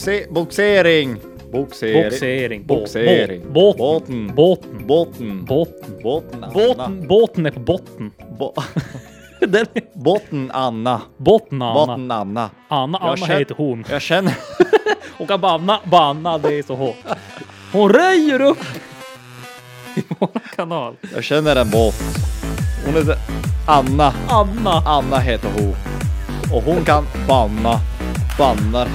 Boxe boxering. Boxering. Boxering. Boxering. Båt. Båten. Båten. Båten. Båten. Anna. Båten. Båten. Båten är på botten. Bo Den är... Båten Anna. Botten Anna. Båten Anna. Anna, Jag Anna känner- heter hon. Jag känner. Hon kan banna, banna, det är så hårt. Hon röjer upp i vår kanal. Jag känner en båt. Hon heter Anna. Anna. Anna heter hon. Och hon kan banna. Bannar.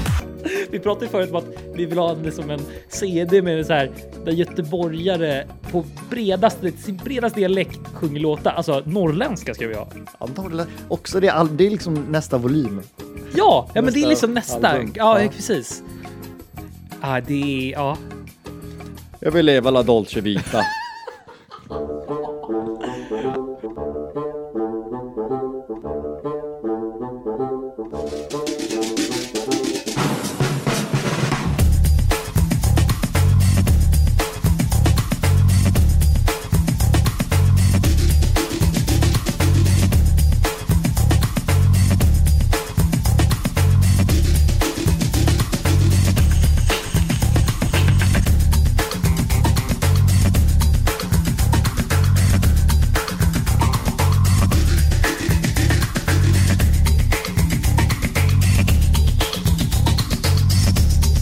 Vi pratade ju förut om att vi vill ha det som en CD med så här där göteborgare på bredaste, sin bredaste dialekt sjunger låtar. Alltså norrländska ska vi ha. Antagligen. Också det, all- det är liksom nästa volym. Ja, ja men det är Nästa liksom nästa. album. Ja, Ja. precis. Ja, det är... Ja. Jag vill leva la dolce vita.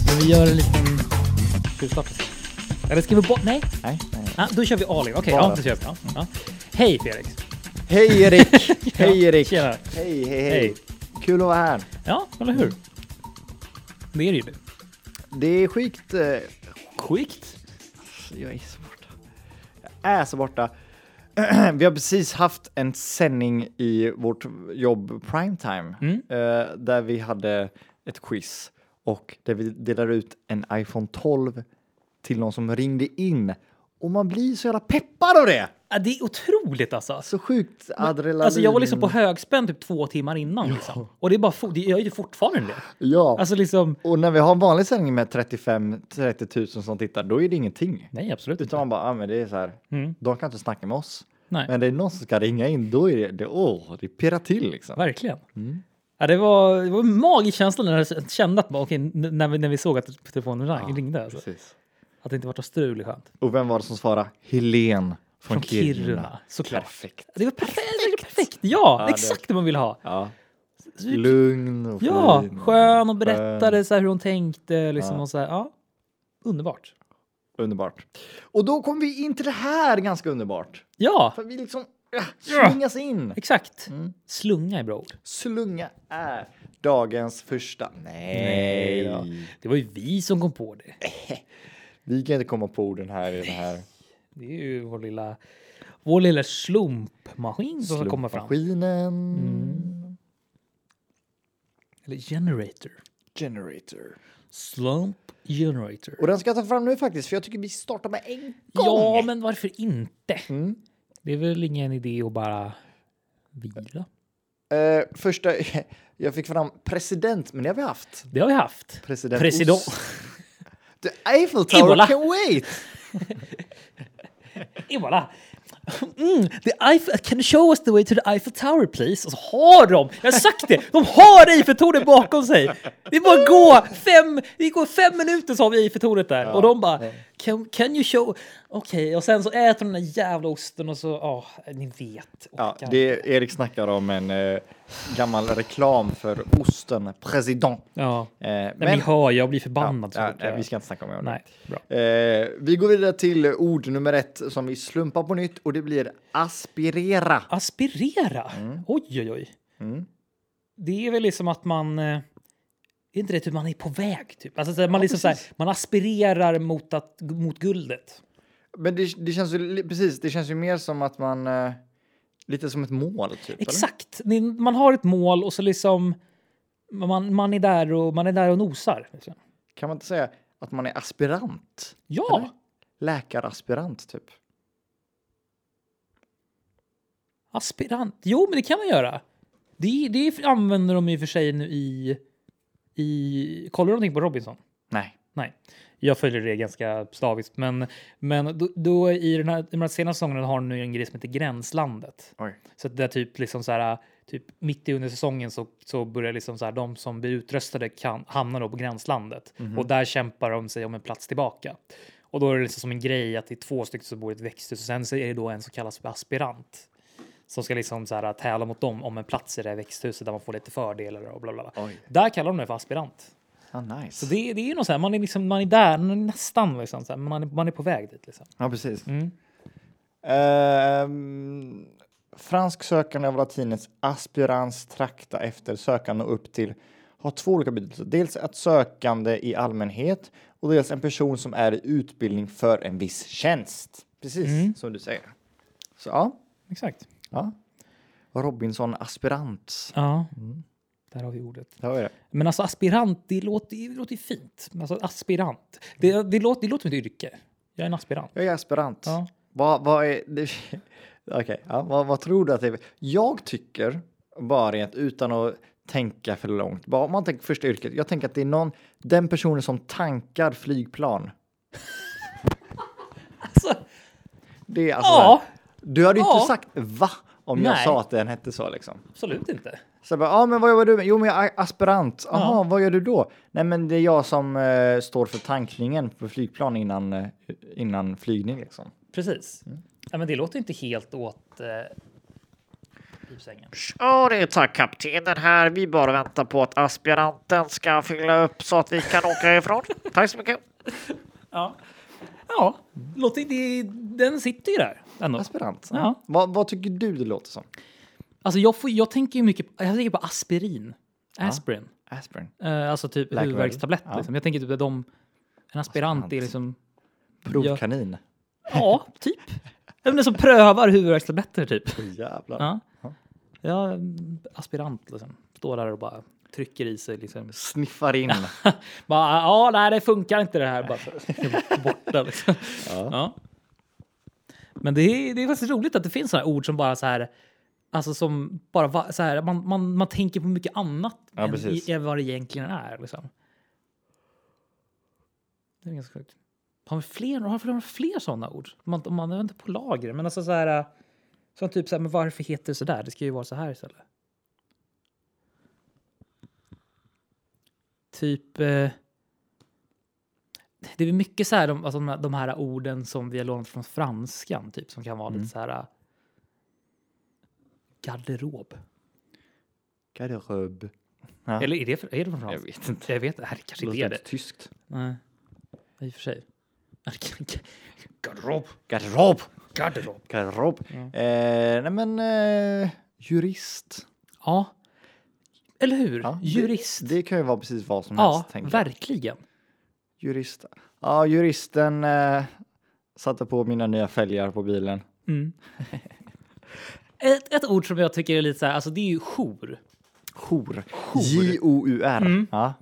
Men vi gör en liten... Ska vi starta? Eller ska vi bara... Nej. nej, nej. Ja, då kör vi all in. Okej, Bara. ja, då kör vi. Ja, ja. Hej Felix. Hej Erik! Hej Erik! Tjena. Hej, hej, Hej. hej! Kul att vara här. Ja, eller hur? Det är det ju. Det är sjukt. eh, Quickt. Jag är så borta. Jag är så borta. Vi har precis haft en sändning i vårt jobb primetime Mm. eh, där vi hade ett quiz och där vi delade ut en iPhone 12 till någon som ringde in och man blir så jävla peppad av det. Ja, Ah, det är otroligt alltså. Så sjukt adrenalin. Alltså jag var liksom på högspänn typ två timmar innan. Liksom. Och det är bara, fo- det- jag är ju fortfarande det. Ja. Alltså liksom, Och när vi har en vanlig sändning med 35-30 000 som tittar, då är det ingenting. nej absolut Utan inte. man bara, ah, men det är så här, Mm. de kan inte snacka med oss. Nej, Men det är någon som ska ringa in, då är det, det åh, det pirrar till liksom. verkligen. Ja, det var, det var en magisk känsla när jag kände att bara, okej, n- när, vi, när vi såg att telefonen rang- ringde. Alltså. Precis. Att det inte var något strul är skönt. Och vem var det som svarade? Helen från, Från Kiruna, Kiruna. såklart. Perfekt. Det var perfekt! perfekt. Ja, Ja, det- exakt det man vill ha. Ja. Så- Lugn och Ja, fin. skön Skön. och berättade så här hur hon tänkte. Liksom, Ja. och så här, ja. Underbart. Underbart. Och då kom vi in till det här ganska underbart. Ja, För vi liksom äh, Ja. slungas in. exakt. Mm. Slunga är bra ord. Slunga är dagens första. Nej då. Det var ju vi som kom på det. Vi kan inte komma på orden här i den här Det är ju vår lilla, vår lilla slumpmaskin som kommer fram. Mm. slumpmaskinen. Eller generator. Generator. Slump generator. Och den ska jag ta fram nu faktiskt, för jag tycker vi startar med en gång. Ja, men varför inte? Mm. Det är väl ingen idé att bara vila? Eh, första, jag fick fram president, men det har vi haft. Det har vi haft. President President. Ost. The Eiffel Tower Ebola. can wait! Ebola. Mm, the Eiffel, can you show us the way to the Eiffel Tower please? Och så har de, jag har sagt det, de har Eiffeltornet bakom sig. Det är bara att gå fem, det går fem minuter så har vi Eiffeltornet där. och de bara, can, can you show, okej, och sen så äter de den där jävla osten och så, ja, ni vet. Ja, Orkar. det Erik snackar om en eh, gammal reklam för osten President. ja. Eh, men Nej, men jag hör, jag blir förbannad. så ja, fort nej, jag- vi ska inte snacka om det. Nej, bra. Eh, vi går vidare till ord nummer ett som vi slumpar på nytt och det blir aspirera. Aspirera? Oj, oj, oj. Mm. Det är väl liksom att man... eh, Är inte det typ man är på väg? Typ. Alltså, så här, man, liksom, så här, man aspirerar mot, att, mot guldet. Men det, det känns ju li- precis, det känns ju mer som att man eh, lite som ett mål typ. eller? Exakt! Ni- Man har ett mål och så liksom... Man, man, är, där och, man är där och nosar. Liksom. Kan man inte säga att man är aspirant? Ja! Eller? Läkaraspirant typ. Aspirant. Jo, men det kan man göra. Det, det använder de i och för sig nu i... i kollar du någonting på Robinson? Nej. Nej, jag följer det ganska slaviskt. Men, men då, då i den här, i de här senaste säsongerna har de nu en grej som heter Gränslandet. Oj. Så att det är typ liksom så här, typ mitt i under säsongen så, så börjar liksom så här, de som blir utröstade kan, hamnar då på gränslandet och där kämpar de sig om en plats tillbaka. Och då är det liksom som en grej att det är två stycken som bor i ett växthus och sen så är det då en som kallas för aspirant som ska liksom så här tävla mot dem om en plats i det här växthuset där man får lite fördelar och bla bla bla. Oj. Där kallar de det för aspirant. Ah, nice. Så det, det är ju något så här, man är liksom, man är där, man är nästan liksom så här, man, är, man är på väg dit liksom. Ja, precis. Mm. Ehm, fransk sökande av latinets aspirans trakta efter sökande upp till har två olika betydelser. Dels att sökande i allmänhet och dels en person som är i utbildning för en viss tjänst. Precis Mm. som du säger. Så ja, Exakt. ja. Robinson aspirant. Ja, där har vi ordet. Det var ju det. Men alltså aspirant, det låter ju det låter ju fint. Men Alltså aspirant, det, det, låter, det låter som ett yrke. Jag är en aspirant. Jag är aspirant. Ja. Vad, vad är... Det, okej, ja, vad, vad tror du att det är? Jag tycker, bara rent utan att tänka för långt, bara om man tänker första yrket, jag tänker att det är någon, den personen som tankar flygplan. Alltså, Det är alltså ja, så här, Du hade ju Ja. inte sagt va om jag Nej. sa att den hette så liksom. absolut inte. Så jag bara, ja men vad jobbar du med? Jo men jag är aspirant. Jaha, vad gör du då? Nej men det är jag som eh, står för tankningen på flygplan innan, eh, innan flygning liksom. Precis. Ja, men det låter inte helt åt eh, pipsängen. Ja, det är tack kaptenen här. Vi bara väntar på att aspiranten ska fylla upp så att vi kan åka ifrån. Tack så mycket. Ja, ja låter, det, den sitter ju där ändå. Aspirant. Ja. Vad, vad tycker du det låter som? Alltså jag, får, jag tänker ju mycket jag tänker på aspirin. Aspirin. Aspirin. Eh, alltså typ Läkemedel. huvudvärkstablett. Ja. Liksom. Jag tänker typ att de, en aspirant är Aspirant. liksom Provkanin. Ja, typ. Ja, men Den som prövar huvudvärkstabletter typ. Åh, Jävlar. Ja. ja, mm, aspirant liksom. Står där och bara trycker i sig liksom. Sniffar in. Bara, ja, nej, det funkar inte det här. Bara så, borta liksom. Ja. Men det är, det är faktiskt roligt att det finns sådana ord som bara så här. Alltså som bara va- så här, man, man, man tänker på mycket annat Ja, än, precis. i, än vad det egentligen är. Liksom. Det är ganska sjukt. Har vi fler, har vi- har vi fler sådana ord? Man, man är inte på lager, men alltså så här. Som typ så här, men varför heter det så där? Det ska ju vara så här istället. Typ. Eh, det är mycket så här, de, alltså de, här, de här orden som vi har lånat från franskan, typ som kan vara Mm. lite så här. eh, Garderob. Garderob. Ja. Eller är det, är det från Jag franskan? vet inte. Jag vet, det här kanske inte låter är inte det. tyskt. Nej, i och för sig. Garderob. Garderob. Garderob. Garderob. Eh, nej men eh, jurist. Ja, eller hur? Ja, Jurist. Det, det kan ju vara precis vad som ja, helst. tänker jag. verkligen. Jurist. Ja, juristen eh, satte på mina nya fälgar på bilen. Mm. ett, ett ord som jag tycker är lite så här, alltså det är ju jour. Jour. J-O-U-R. Mm. Ja.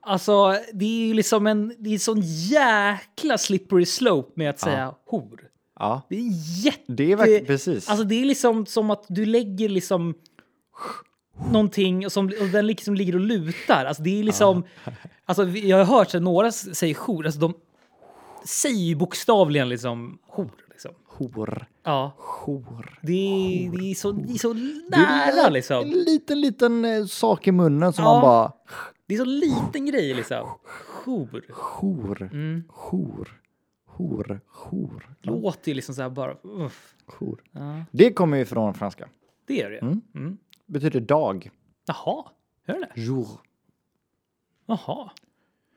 Alltså, det är ju liksom en det är sån jäkla slippery slope med att säga hor. ja. Det är jätte... Det är verkligen precis. Alltså det är liksom som att du lägger liksom någonting och, som, och den liksom ligger och lutar. Alltså det är liksom... Alltså vi- jag har hört så här, några s- säger jour, alltså de säger ju bokstavligen liksom hor. Liksom. Jour. Ja, Jour. det är, det är så, det är så Det är nära liksom. En liten, liten eh, sak i munnen som Ja. man bara... Det är så liten grej liksom. Jour. Jour. Mm. Jour. Jour. Jour. Låter ju liksom så här bara... Uff. Jour. Ja, Det kommer ju från franska. det gör det. Mm. Mm. Betyder dag. Jaha, hör du det? Jour. Jaha.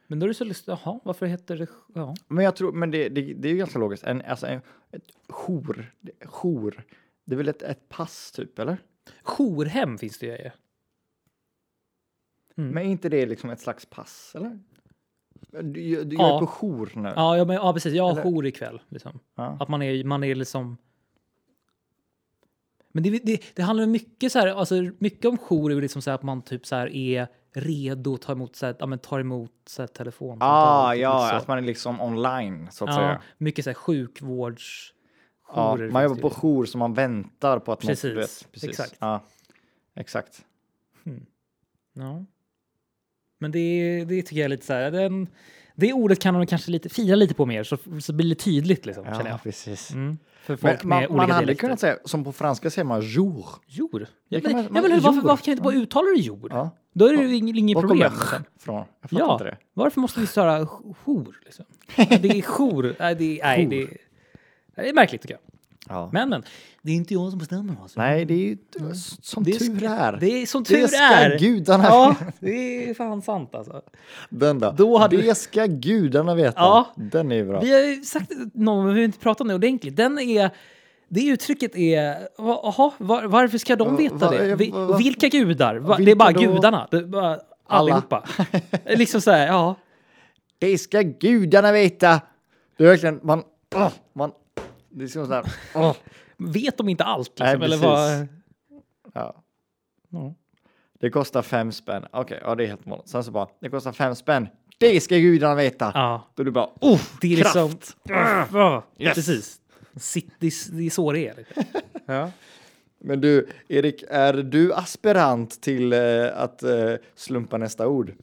Men då är det så lustigt. Jaha, varför heter det... Ja. Men jag tror, men det, det, det är ju ganska logiskt. En, alltså en, ett jour. det- Jour. Det är väl ett, ett pass typ, Mm. eller? Jourhem finns det ju. Mm. Men är inte det liksom ett slags pass, eller? Du, du, du Ja. är på jour nu. Ja, ja, men, ja precis. Jag har Eller- jour ikväll. Liksom. Ja. Att man är, man är liksom... Men det, det, det handlar mycket, så här, alltså, mycket om jour, är ju liksom så här, att man typ så här, är redo att ta emot, så här, ja, men, tar emot så här, telefon. Ah, ja, så. att man är liksom online så att ja, säga. mycket så här, sjukvårds... Ja, jourer man finns jobbar det på ju. jour så man väntar på att något- Precis, du vet, precis. exakt. Ja, exakt. Ja. Men det, det tycker jag är lite så här, den, Det ordet kan de kanske lite, fila lite på mer så, så blir det tydligt liksom, känner jag. precis. Mm. För Men folk med man, man olika hade dialekter. kunnat säga, som på franska säger man jour. Jor? Ja, Det men, kan man- ja, men hur, man- varför, jor. varför kan jag inte bara uttala det jor? Ja. Då är det ju ing- inget Var kommer problem. ch liksom. från? Jag fattar Ja, inte det. varför måste vi störa jour? Liksom? Det är jour. Nej, det, nej, det, det är märkligt tycker jag. Men, men. Det är inte jag som bestämmer. Alltså. Nej, det är ju t- som Det är tur ska- är. Det är som tur Det ska är. gudarna Ja, det är fan sant alltså. Den där. Då hade- Det ska gudarna veta. Ja. Den är ju bra. Vi har ju sagt någon, men vi har inte pratat om det ordentligt. Den är... Det uttrycket är... va- Jaha, var, varför ska de Va- veta va- det? eh, Vi, va- va- vilka gudar? Va, det är Vilka bara då? gudarna. Det är bara Alla. allihopa. liksom så här, ja. Det ska gudarna veta. Det är verkligen, man... åh, man det är som sån här... åh. Vet de inte allt? Liksom, Nej, eller precis. vad, Ja. Ja. Det kostar fem spänn. Okej, ja det är helt vanligt. Sen så bara, det kostar fem spänn. Det ska gudarna veta. ja. Då är du bara, Oh, det är liksom... Ja, Yes. Precis. Sitt, det, är, det är så det är. liksom. Ja. men du Erik, är du aspirant till eh, att eh, slumpa nästa ord?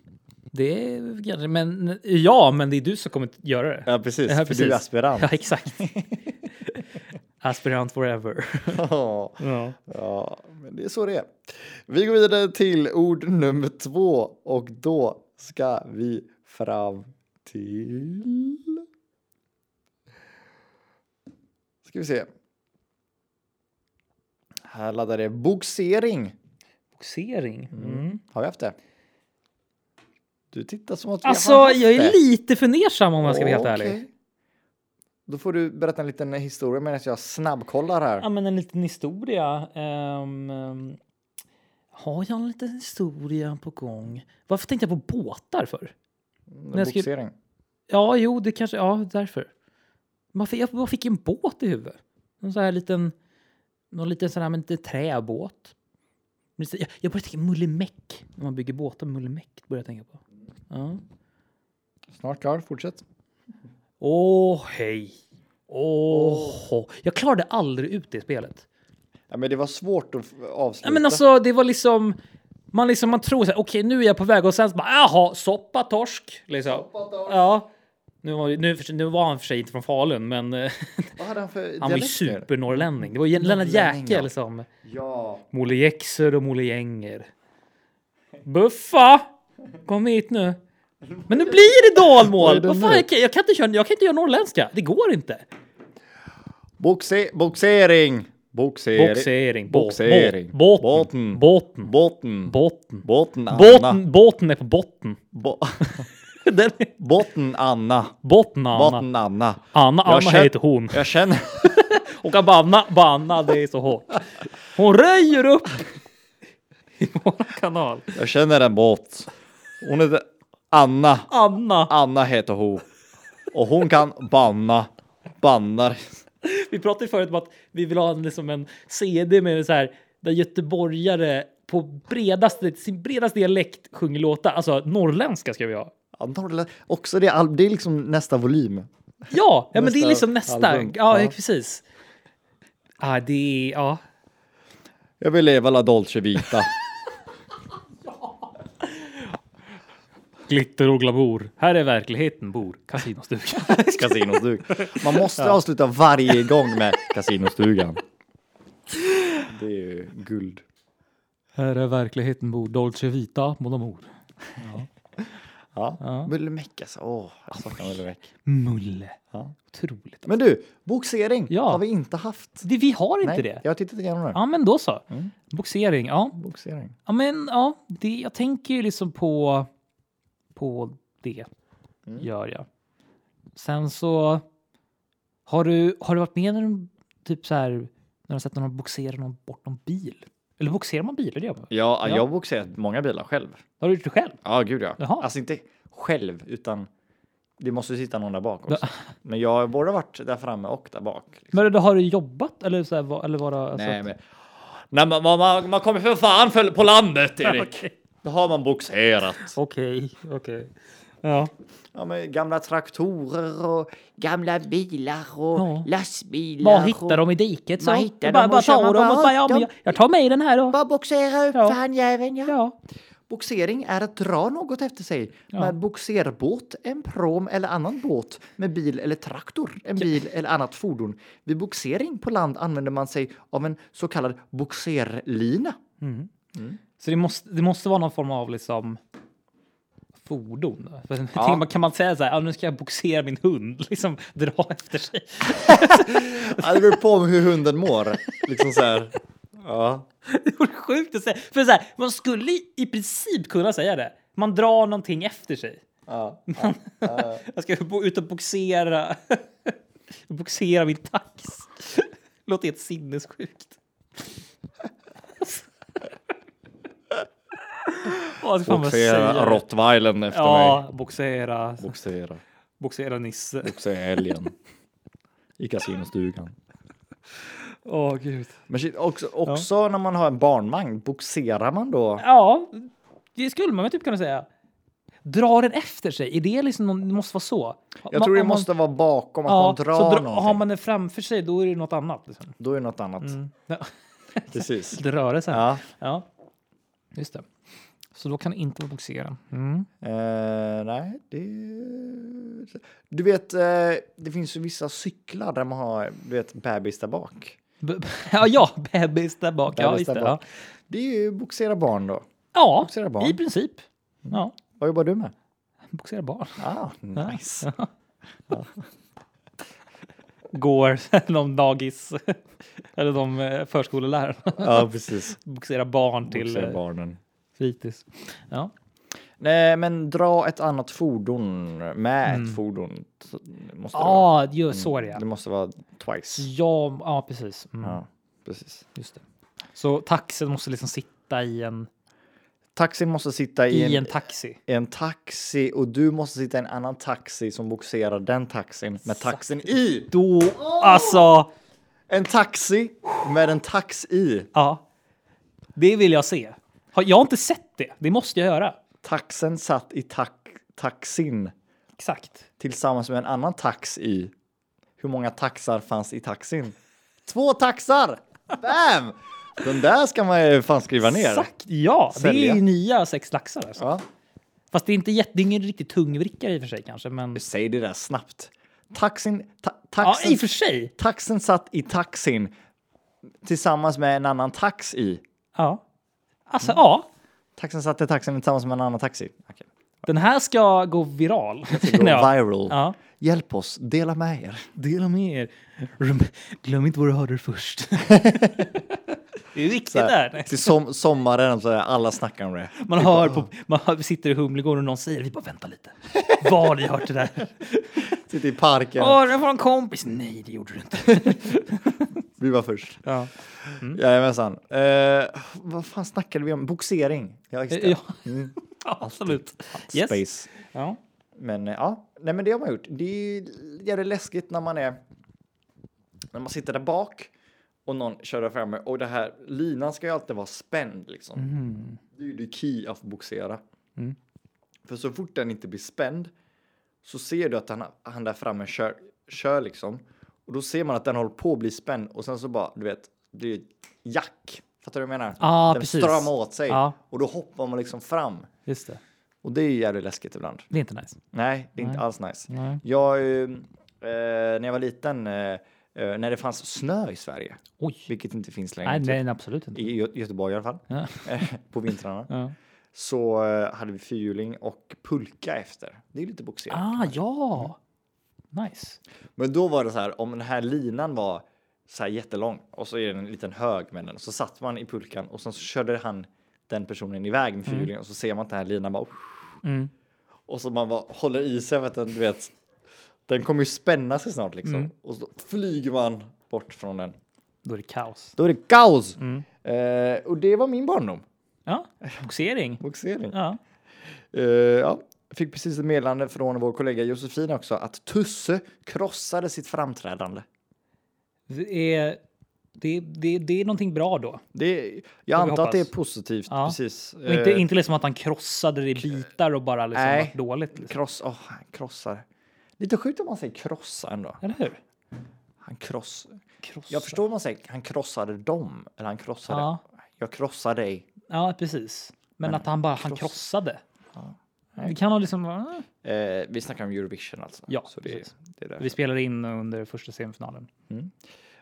Det är, kanske- men, ja, men det är du som kommer att göra det. Ja, precis. för Ja, du är precis. aspirant. Ja, exakt. Aspirant forever. Ja. Ja. Ja, men det är så det är. Vi går vidare till ord nummer två och då ska vi fram till... Ska vi se. Här laddar det boxering. Boxering. Mm. Har vi haft det? Du tittar som att vi Alltså, har haft jag det. är lite fundersam om jag ska vara helt Okej. ärlig. Då får du berätta en liten historia medan jag snabbkollar Ja, här. men en liten historia. ehm, ehm, har jag en liten historia på gång? Varför tänkte jag på båtar för? jag ska- Boxering. Ja, jo, det kanske... Ja, därför. Man fick, jag bara fick en båt i huvudet. Någon sån här liten... Någon liten sån här men inte träbåt. Men så- Jag, jag började tänka mullemäck. När man bygger båtar, mullemäck började jag tänka på. Ja. Snart klar, fortsätt. Åh, hej. Åh, hå. Jag klarade aldrig ut det spelet. Ja, men det var svårt att f- avsluta. Nej, men alltså, det var liksom... Man, liksom, man tror så här, okej nu är jag på väg och sen så bara, jaha, soppa torsk. Liksom. Ja. Nu var, nu, nu var han för sig inte från Falun, men eh, Vad hade han för han var ju dialekt nu? supernorrlänning. Det var ju Lennart Norrlänning, Jäkel ja. som... Ja. Molle Jäxer och Molle Gänger. Buffa! Kom hit nu. Men nu blir det Vad dalmål! är det Vad fan, nu? jag, kan, jag, kan inte köra, jag kan inte göra norrländska. Det går inte. Boxe boxering. Boxering. Boxering. Bo, Boxering. Bo, Båten. båten. Båten. Båten. Båten Anna. Båten. Båten. Båten är på botten. Bo- Den är Båten Anna. botten Anna. Båten Anna. Anna, Jag Anna känner- heter hon. Jag känner. Och Abanna, Banna, det är så hårt. Hon röjer upp i vår kanal. Jag känner en båt. Hon heter Anna. Anna. Anna heter hon. Och hon kan banna. Bannar. Vi pratade ju förut om att vi vill ha en, liksom en CD med så här där göteborgare på bredaste, sin bredaste dialekt sjunger låtar. Alltså norrländska ska vi ha. Ja, norrlä- Också det, al- det är liksom nästa volym. Ja, ja men det är Nästa liksom nästa. album. Ja, Ja. precis. Ja, det är... Ja. Jag vill leva la dolce vita. Glitter och glamour. Här är verkligheten bor. Kasinostugan. Kasinostugan. Man måste avsluta varje gång med kasinostugan. Det är ju guld. Här är verkligheten bor. Dolce Vita, mon amour. Ja. Ja. Mullemäck alltså. Åh, jag saknar Mullemäck. Mulle. Ja. Otroligt. Men du, boxering Ja. har vi inte haft. Det, vi har inte det. jag har tittat igenom det. Ja, men då så. Boxering, ja. Boxering. Ja, men ja, det, jag tänker ju liksom på, på det. Mm. Gör jag. Sen så har du, har du varit med när du typ så här när du har sett någon boxera någon bort någon bil? Eller boxerar man bilar? Det gör man. Ja, Ja. jag har boxerat många bilar själv. Har du gjort det själv? Ja, gud ja. Jaha. Alltså inte själv, utan det måste sitta någon där bak också. Men jag har både varit där framme och där bak. Men då har du jobbat eller så här, var- eller var det alltså Nej, att- men... Nej, man, man, man kommer för fan för- på landet, Erik. Då har man boxerat. Okej, okej. Ja. Ja, men gamla traktorer och gamla bilar och Ja. lastbilar. Bara hittar dem i diket så. Man hittar bara, dem och bara kör tar man dem och bara bara, upp ja, men dem. jag, jag tar med den här då. Bara boxera upp Ja. för han jäveln ja. Ja. Boxering är att dra något efter sig med boxerbåt, en prom eller annan båt med bil eller traktor, en bil eller annat fordon. Vid boxering på land använder man sig av en så kallad boxerlina. Så det måste, det måste vara någon form av liksom fordon. då. För jag tänker, man- Kan man säga så här, "Ja, nu ska jag boxera min hund, liksom dra efter sig. Ja, det beror på hur hunden mår. Liksom så här. Ja. Det vore sjukt att säga. För så här, man skulle i- i princip kunna säga det. Man drar någonting efter sig. Ja. Jag ska bo- ut och boxera. boxera min tax. Låter helt sinnessjukt. Åh, ska fan vad jag säger. rottweilern efter Ja, boxera. Boxera. Boxera Nisse. Boxera älgen. I kasinostugan. Åh, gud. Men shit, också, också när man har en barnvagn, boxerar man då? Ja, det skulle man väl typ kunna säga. Drar den efter sig? Är det liksom, någon- det måste vara så? Jag tror det om man- måste vara bakom, att man drar så dra- någonting. har man den framför sig då är det något annat. Liksom. Då är det något annat. Ja, Precis. Rörelsen. Ja. Mm. Ja. just det. Så då kan det inte vara boxera. Mm. Eh, nej, det... Du vet, eh, det finns ju vissa cyklar där man har, du vet, bebis där bak. B- ja, ja, bebis där bak. ja, Bebis just där det. Ja, bak. Det är ju boxera barn då. ja Boxera barn. Mm. i princip. Ja, Vad jobbar du med? boxera barn. Ah, nice. Ja. Går de dagis eller de eh, förskolelärarna ja, precis. boxera barn till eh, Boxera boxera barnen. fritids. Ja. Nej, men dra ett annat fordon med ett fordon. Så- Måste det, vara. Mm. Ja, Mm. ju Ah, så är det. ja. Mm. det måste vara twice. Ja, ja precis. Mm, Ja, precis. Just det. Så taxen måste liksom sitta i en, Taxin måste sitta i, i en, en taxi. en taxi och du måste sitta i en annan taxi som boxerar den taxin med taxin i. Då, alltså, En taxi med en tax i. ja. Det vill jag se. Har- Jag har inte sett det. Det måste jag göra. Taxen satt i tax, taxin Exakt. tillsammans med en annan tax i. Hur många taxar fanns i taxin? Två taxar! Bam! Den där ska man ju fan skriva ner. Exakt, ja. Det är Sälja. ju nya sex laxar. Alltså. Ja. Fast det är, inte jätte, det är ingen riktigt tungvrickare i och för sig kanske. Men, Säg det där snabbt. Taxin, ta, ja, taxen, i och för sig. taxen satt i taxin tillsammans med en annan tax i. Ja. Alltså, ja. Taxen satt i taxin tillsammans med en annan taxi. Okej. Den här ska gå viral. Det går känner jag. viral. Ja. Hjälp oss, dela med er. Dela med er. Glöm inte vad du hörde först. det är viktigt där. Till som, sommaren så är alla snackar om det. Man hör på, man hör, sitter i Humlegården och någon säger vi bara vänta lite. Var har ni hört det där? Sitter i parken, Ja, det var en kompis. Nej, det gjorde du inte. vi var först. Ja. Mm. Jajamensan. Eh, vad fan snackade vi om? Boxering. Ja, just det. Ja. Mm. Absolut. Yes. Space. Ja. Men eh, ja, nej men det har man gjort. Det är ju jävligt läskigt när man är när man sitter där bak och någon kör där framme och det här linan ska ju alltid vara spänd liksom. Mhm. Det är ju det key att boxera. Mm. För så fort den inte blir spänd så ser du att han, han där framme kör, kör liksom och då ser man att den håller på att bli spänd och sen så bara du vet, det är ett jack. Fattar du vad jag menar? Ah, den precis. stramar åt sig Ja. och då hoppar man liksom fram Just det. och det är ju jävligt läskigt ibland. Det är inte nice. Nej, det är inte alls nice. Nej. Jag, eh, när jag var liten, eh, eh, när det fanns snö i Sverige, Oj. vilket inte finns längre, Nej, typ. nej, absolut inte. i Gö- Göteborg i alla fall, Ja. eh, på vintrarna, Ja. så eh, hade vi fyrhjuling och pulka efter. Det är lite boxerat. Ah, ja. Nice. Men då var det så här, om den här linan var så här jättelång och så är det en liten hög med den, så satt man i pulkan och sen så körde han den personen iväg med fyrhjulingen och så ser man att den här linan bara Mm. Och så man bara håller i sig för att den, du vet, den kommer ju spänna sig snart liksom. Och så flyger man bort från den. Då är det kaos. Då är det kaos! Eh, och det var min barndom. Ja, boxering. Boxering. Ja. Eh, ja. Jag Fick precis ett meddelande från vår kollega Josefin också att Tusse krossade sitt framträdande. Det är, det, det, det är någonting bra då. Det, vi jag antar att det är hoppas. positivt. Ja. Precis. Och inte, Eh, inte liksom att han krossade det i bitar och bara liksom Nej. vart dåligt. Liksom. Kross, åh, han krossar. Lite sjukt om man säger krossa ändå. Eller hur? Han kross. Krossa. Jag förstår vad man säger. Han krossade dem. Eller han krossade. Ja. Jag krossar dig. Ja, precis. Men, att han bara han krossade. Vi kan ha liksom... eh, Eh, vi snackar om Eurovision alltså. Ja, så det, precis. det är därför. Vi spelade in under första semifinalen.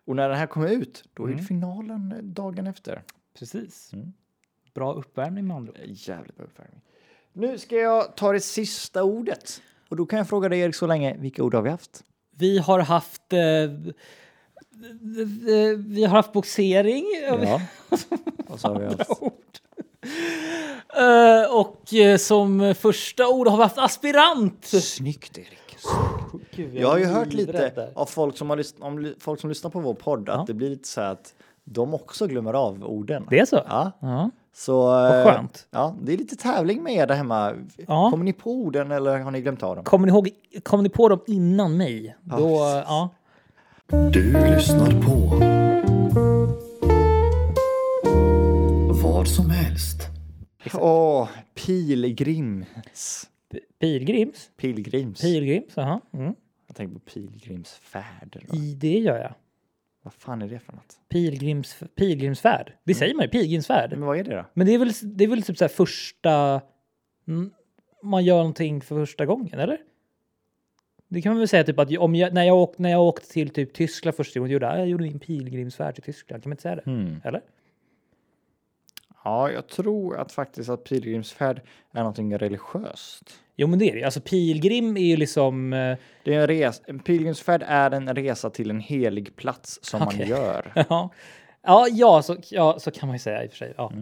Och när den här kommer ut, då är Mm. det finalen eh, dagen efter. Precis. Bra uppvärmning med andra ord. Eh, Jävligt bra uppvärmning. Nu ska jag ta det sista ordet. Och då kan jag fråga dig Erik så länge, vilka ord har vi haft? Vi har haft... eh, eh, vi har haft boxering. Vad sa vi haft? Eh, och eh, som första ord har vi haft aspirant. Snyggt Erik. Jag har ju hört lite av folk som, har lyssn- om ly- folk som lyssnar på vår podd att det blir lite så här att de också glömmer av orden. Det är så? Ja, Ja. så... Vad skönt. Ja, det är lite tävling med er där hemma. Ja. Kommer ni på orden eller har ni glömt av dem? Kommer ni, ihåg, kom ni på dem innan mig? Då, precis. ja. Du lyssnar på vad som helst. Åh, pilgrims. Pilgrims. Pilgrims. Pilgrims, jaha. Mm. Jag tänker på pilgrimsfärd. I det gör jag. Vad fan är det för något? Pilgrims, pilgrimsfärd. Det säger man ju, pilgrimsfärd. Men vad är det då? Men det är väl, det är väl typ så här första... mm, Man gör någonting för första gången, eller? Det kan man väl säga typ att om jag, när, jag åkte, när jag åkte till typ Tyskland första gången, gjorde jag, jag gjorde min pilgrimsfärd till Tyskland. Kan man inte säga det? Mm. Hmm. Eller? Ja, jag tror att faktiskt att pilgrimsfärd är någonting religiöst. Jo, men det är det ju. Alltså pilgrim är ju liksom... eh, Det är en, res- en pilgrimsfärd är en resa till en helig plats som man Okej. gör. Ja, ja, ja, så, ja så kan man ju säga i och för sig. Ja.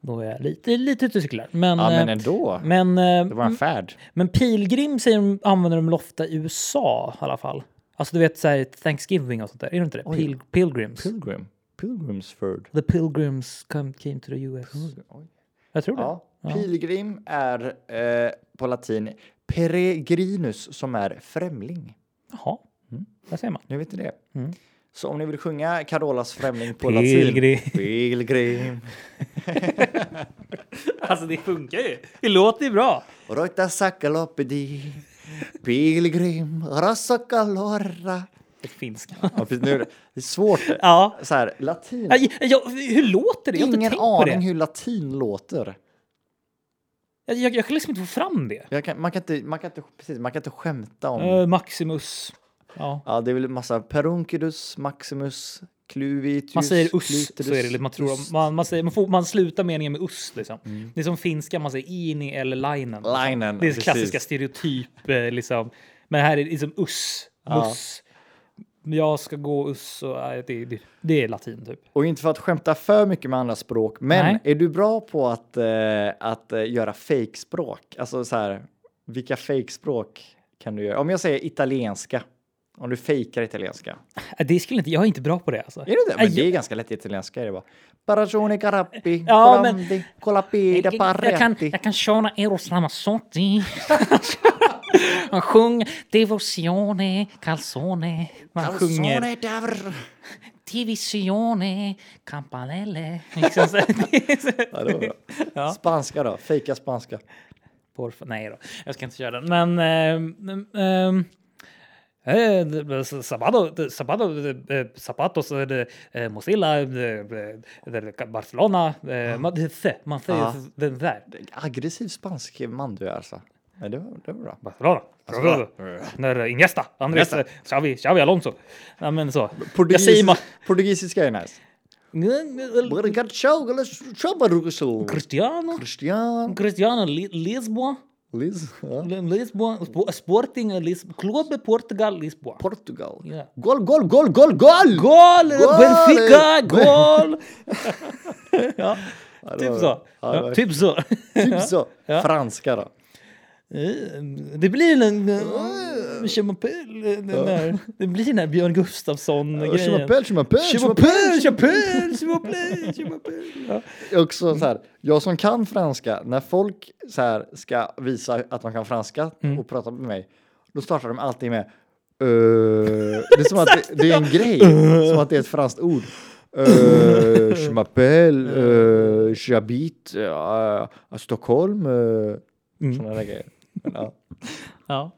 Då är jag lite, lite ute och cyklar. Men, Ja, men eh, ändå. men, eh, Det var en färd. men pilgrim säger de, använder de väl ofta i USA i alla fall. Alltså du vet så här, Thanksgiving och sånt där. Är det inte det? Pil, pilgrims. Pilgrim. Pilgrimsfärd. The pilgrims come, came to the US. Oj. Jag tror det. Ja, pilgrim är eh, på latin peregrinus som är främling. Jaha, där ser man. Nu vet ni det. Så om ni vill sjunga Carolas främling på Pilgrim. latin. Pilgrim. Alltså det funkar ju. Det låter ju bra. Röta sakalopedi. Pilgrim. Rasakalorra. Det finska. Ja, precis, nu är det- det är svårt. Ja. Så här, latin. Ja, ja, hur låter det? Jag har inte Ingen tänkt på aning det. hur latin låter. Jag, jag, jag kan liksom inte få fram det. Jag kan, man, kan inte, man, kan inte, precis, man kan inte skämta om... Eh, Maximus. Ja. Ja, det är väl massa Perunculus, Maximus, Cluvitius... Man säger us, så är det. lite- Clutulus, Man, tror, us. man, man, säger, man, får, man slutar meningen med us. Liksom. Det är som finska, man säger ini eller linen. Mm. Linen, det är precis. klassiska stereotyp. eh, Liksom. Men här är det liksom us, muss. Jag ska gå us. Och, nej, det, det, det är latin typ. Och inte för att skämta för mycket med andra språk, men Nej. är du bra på att, eh, att eh, göra fejkspråk? Alltså så här, vilka fejkspråk kan du göra? Om jag säger italienska, om du fejkar italienska. Eh, Det skulle inte, jag är inte bra på det. Alltså. Är det det? Men Eh, det är ganska lätt italienska är det bara. Paragione carappi, Ja, men- colandi, colapida jag, jag, kan, parretti. jag kan köra Eros Ramazzotti. Han sjunger Devozione, Calzone. Man sjunger Calzone d'Avr. Divisione, Campanelle. Liksom så- Ja, det var bra. Ja. Spanska då, fejka spanska. Por fa- Nej då, jag ska inte köra den. Men... ehm, ehm, eh, d- d- s- Sabado, d- sabado, d- eh, Zapatos, eh, d- eh, Mozilla, d- d- d- Barcelona. eh, Ah. man- det- se, Man säger Ja. den där. Aggressiv spansk man du är alltså. Nej, det, var, det var bra. Barcelona. När Iniesta, Andres, eh, Xavi, Xavi Alonso. Ja, men så. Jag säger Portugisiska, portugisiska är nice. ma- Borgaccio, eller Chabaruso. Cristiano, Christian. Cristiano Li- Lisboa. Liz. Ja. Lisboa, Sp- Sporting, Lis Clube Portugal, Lisboa. Portugal. Ja. Gol, gol, gol, gol, gol! Gol! Gol! Benfica, gol! ja, det typ var- så. ja, det var- Ja, typ så. Typ så. Ja. Franska då. Eh, Det blir en... eh, Chimapel, eh, den där. Det blir den här Björn Gustafsson-grejen. Chimapel, chimapel, Chimapel, chimapel, chimapel, chimapel. Ja. Också så här, jag som kan franska, när folk så här ska visa att de kan franska och prata med mig, då startar de alltid med eh, Det är som att det, det är en grej, som att det är ett franskt ord. Eh, Je m'appelle, eh, j'habite eh, à Stockholm. eh, Sådana där grejer. Men, ja. Ja.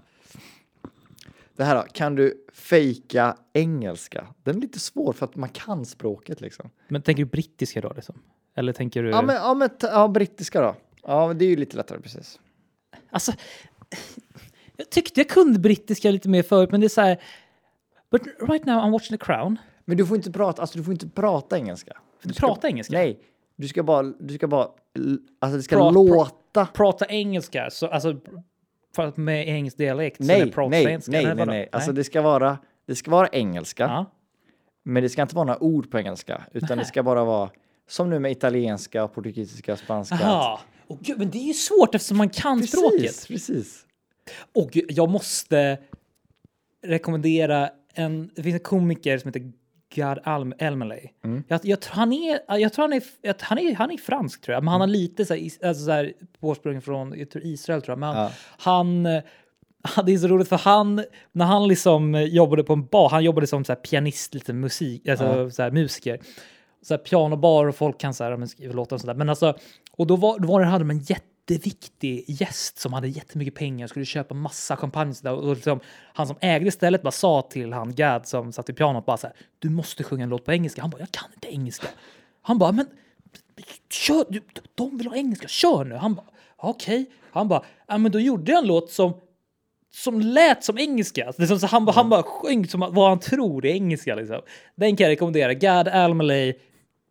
Det här då, kan du fejka engelska? Den är lite svår för att man kan språket liksom. Men tänker du brittiska då? Liksom? Eller tänker du? Ja, men, ja, men ta- ja, brittiska då. Ja, det är ju lite lättare precis. Alltså, jag tyckte jag kunde brittiska lite mer förut, men det är så här... But right now I'm watching the crown. Men du får inte prata, alltså du får inte prata engelska. Du, pratar engelska. Nej, du ska bara, du ska bara, l- alltså det ska Pra- pra- låta. Prata engelska, så, alltså för att med engelsk dialekt. så är det nej, prata nej, engelska. nej, Eller nej, vadå? nej. Alltså det ska vara, det ska vara engelska, ja. men det ska inte vara några ord på engelska, utan det ska bara vara som nu med italienska, portugisiska, spanska. Aha. Åh, gud, men det är ju svårt eftersom man kan språket. Precis, precis. Och jag måste rekommendera en, det finns en komiker som heter Gad Alm Elmaleh. Jag, jag tror han är, jag tror han är, jag, han är, han är fransk tror jag, men han har lite så här, is- alltså så här påsprungen från jag tror Israel tror jag, men han, han eh, det är så roligt för han, när han liksom jobbade på en bar, han jobbade som så här pianist, lite musik, alltså så här musiker. Så här pianobar och folk kan så här, ja, men skriva låtar och sådär. Men alltså, och då var, då var det, hade de en jätteviktig gäst som hade jättemycket pengar och skulle köpa massa champagne och, sådär. och liksom, han som ägde stället bara sa till han Gad som satt i pianot bara så här, du måste sjunga en låt på engelska. Han bara, jag kan inte engelska. Han bara, men kör, du, de vill ha engelska, kör nu. Han bara, okej. Han bara, ja men då gjorde jag en låt som som lät som engelska. Alltså, det är som så han, bara- han bara sjöng som vad han tror är engelska. Liksom. Den kan jag rekommendera. Gad Almaley.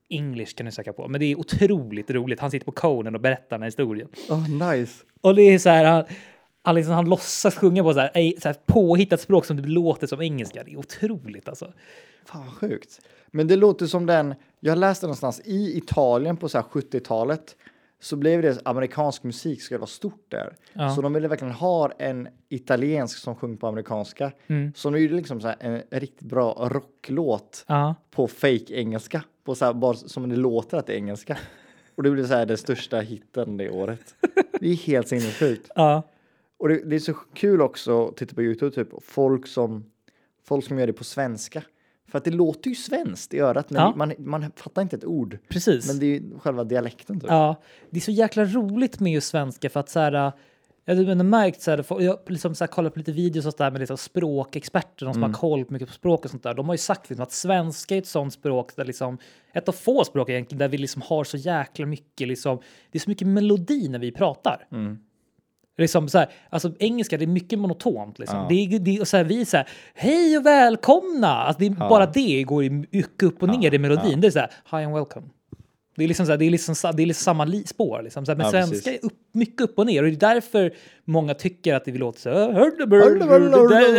English kan du söka på. Men det är otroligt roligt. Han sitter på Conan och berättar den här historien. Oh, nice. Och det är så här, han, han, liksom, han låtsas sjunga på så här, ej- så här påhittat språk som det låter som engelska. Det är otroligt alltså. Fan vad sjukt. Men det låter som den, jag läste någonstans i Italien på så här 70-talet så blev det amerikansk musik skulle vara stort där. Ja. Så de ville verkligen ha en italiensk som sjöng på amerikanska. Mm. Så nu är det liksom så här en riktigt bra rocklåt Ja. på fake engelska. På så här, bara som det låter att det är engelska. Och det blev så här den största hitten det året. Det är helt sinnessjukt. Ja. Och det, det är så kul också att titta på Youtube, typ folk som, folk som gör det på svenska. För att det låter ju svenskt i örat, men Ja. man, man fattar inte ett ord. Precis. Men det är ju själva dialekten typ. Ja, det är så jäkla roligt med just svenska för att så här, jag har ändå märkt så här, för- jag liksom så här, kollar på lite videos och så där med liksom språkexperter, de som har koll på mycket på språk och sånt där. De har ju sagt liksom att svenska är ett sånt språk där liksom, ett av få språk egentligen, där vi liksom har så jäkla mycket liksom, det är så mycket melodi när vi pratar. Liksom så här, alltså engelska det är mycket monotont. Liksom. Det är, det är, och så här, vi är så här, hej och välkomna! Alltså, det är Bara det går ju mycket upp och ner i melodin. Det är så här, hi and welcome. Det är liksom, så här, det är liksom, sa- det är liksom samma li, spår. Liksom. Så här, men Ja, precis. svenska är upp, mycket upp och ner och det är därför många tycker att det låter så här. "Hördebrr",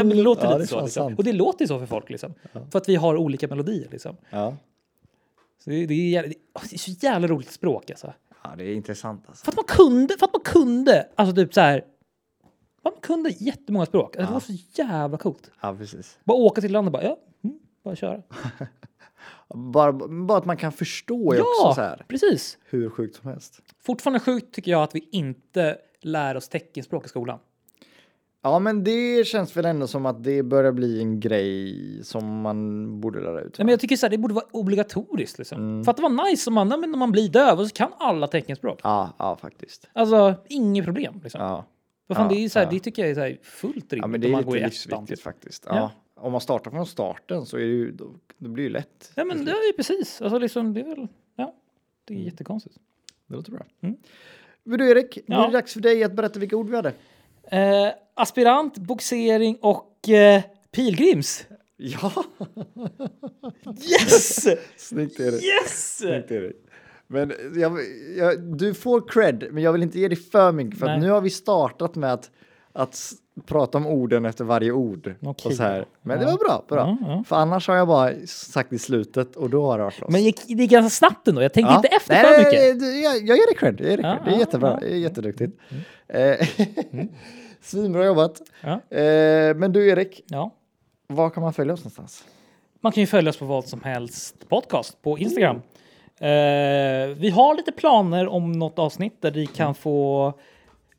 Det låter Ja, det är lite så. fan Liksom. sant. Och det låter ju så för folk. Liksom. För att vi har olika melodier. Liksom. Ja. Så det, det, är, jävla- det är så jävla roligt språk alltså. ja, det är intressant alltså. För att man kunde, för att man kunde, alltså typ så här. Man kunde jättemånga språk. Alltså, Det var så jävla coolt. Ja, precis. Bara åka till landet och bara, ja, mm, bara köra. Bara, bara att man kan förstå är Ja, också så här, precis. hur sjukt som helst. Fortfarande sjukt tycker jag att vi inte lär oss teckenspråk i skolan. Ja, men det känns väl ändå som att det börjar bli en grej som man borde lära ut. Nej, men jag tycker så här, det borde vara obligatoriskt liksom. Mm. För att det var nice om man, nej, men när man blir döv och så kan alla teckenspråk. Ja, ja, faktiskt. Alltså, inget problem liksom. Ja. Vad fan, Ja, det, är så här, ja. det tycker jag är så här fullt rimligt Ja, men det om är man går i lite ettan. liksom. livsviktigt faktiskt. Ja. Ja. Om man startar från starten så är det ju, då, då blir det ju lätt. Ja, men det är ju precis. Alltså, liksom, det är väl, ja, det är Mm. jättekonstigt. Det låter bra. Mm. Men du Erik, nu Ja. är det dags för dig att berätta vilka ord vi hade. Eh, aspirant, boxering och eh, pilgrims. Ja, Yes! snyggt Erik. Yes! Snyggt, Erik. Men jag, jag, du får cred, men jag vill inte ge dig för mycket för Nej. att nu har vi startat med att, att s- prata om orden efter varje ord. Okej. Och så här. Men det var bra, bra. För annars har jag bara sagt i slutet och då har det varit oss. Men gick- det gick ganska snabbt ändå. Jag tänkte Ja. inte efter Nej, för nej, mycket. nej, du, Jag, jag ger dig cred. Jag ger dig Ja, cred. det är ja, jättebra. Det är jätteduktigt. Eh, Svinbra jobbat. Ja. Eh, men du Erik, Ja. var kan man följa oss någonstans? Man kan ju följa oss på vad som helst podcast på Instagram. Eh, vi har lite planer om något avsnitt där ni kan få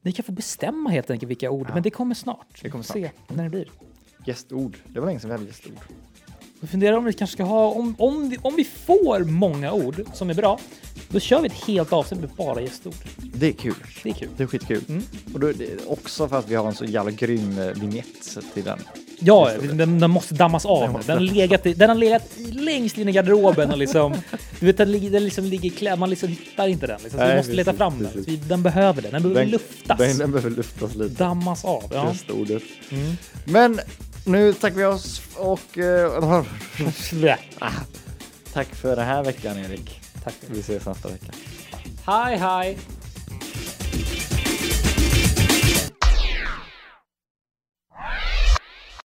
ni kan få bestämma helt enkelt vilka ord, men det kommer snart. Det kommer Vi får Se när det blir. Gästord. Det var länge sedan vi hade gästord. Jag funderar om vi kanske ska ha, om, om, vi, om vi får många ord som är bra, då kör vi ett helt avsnitt med bara gästord. Det är kul. Det är kul. Det är skitkul. Och då är det också för att vi har en så jävla grym eh, vignett till den. Ja, den, den måste dammas av. Den, har legat i, den har legat i, längst in i garderoben och liksom, du vet, den, ligger- den liksom ligger klämd. Man liksom hittar inte den. Liksom. Så vi Nej, måste leta precis, fram den. precis. Vi, den behöver den. Den behöver luftas. Den, den behöver luftas lite. dammas av. Ja. Bästa ordet. Men nu tackar vi oss och eh, Blä. tack för den här veckan Erik. Tack. Vi ses nästa vecka. Hej, hej!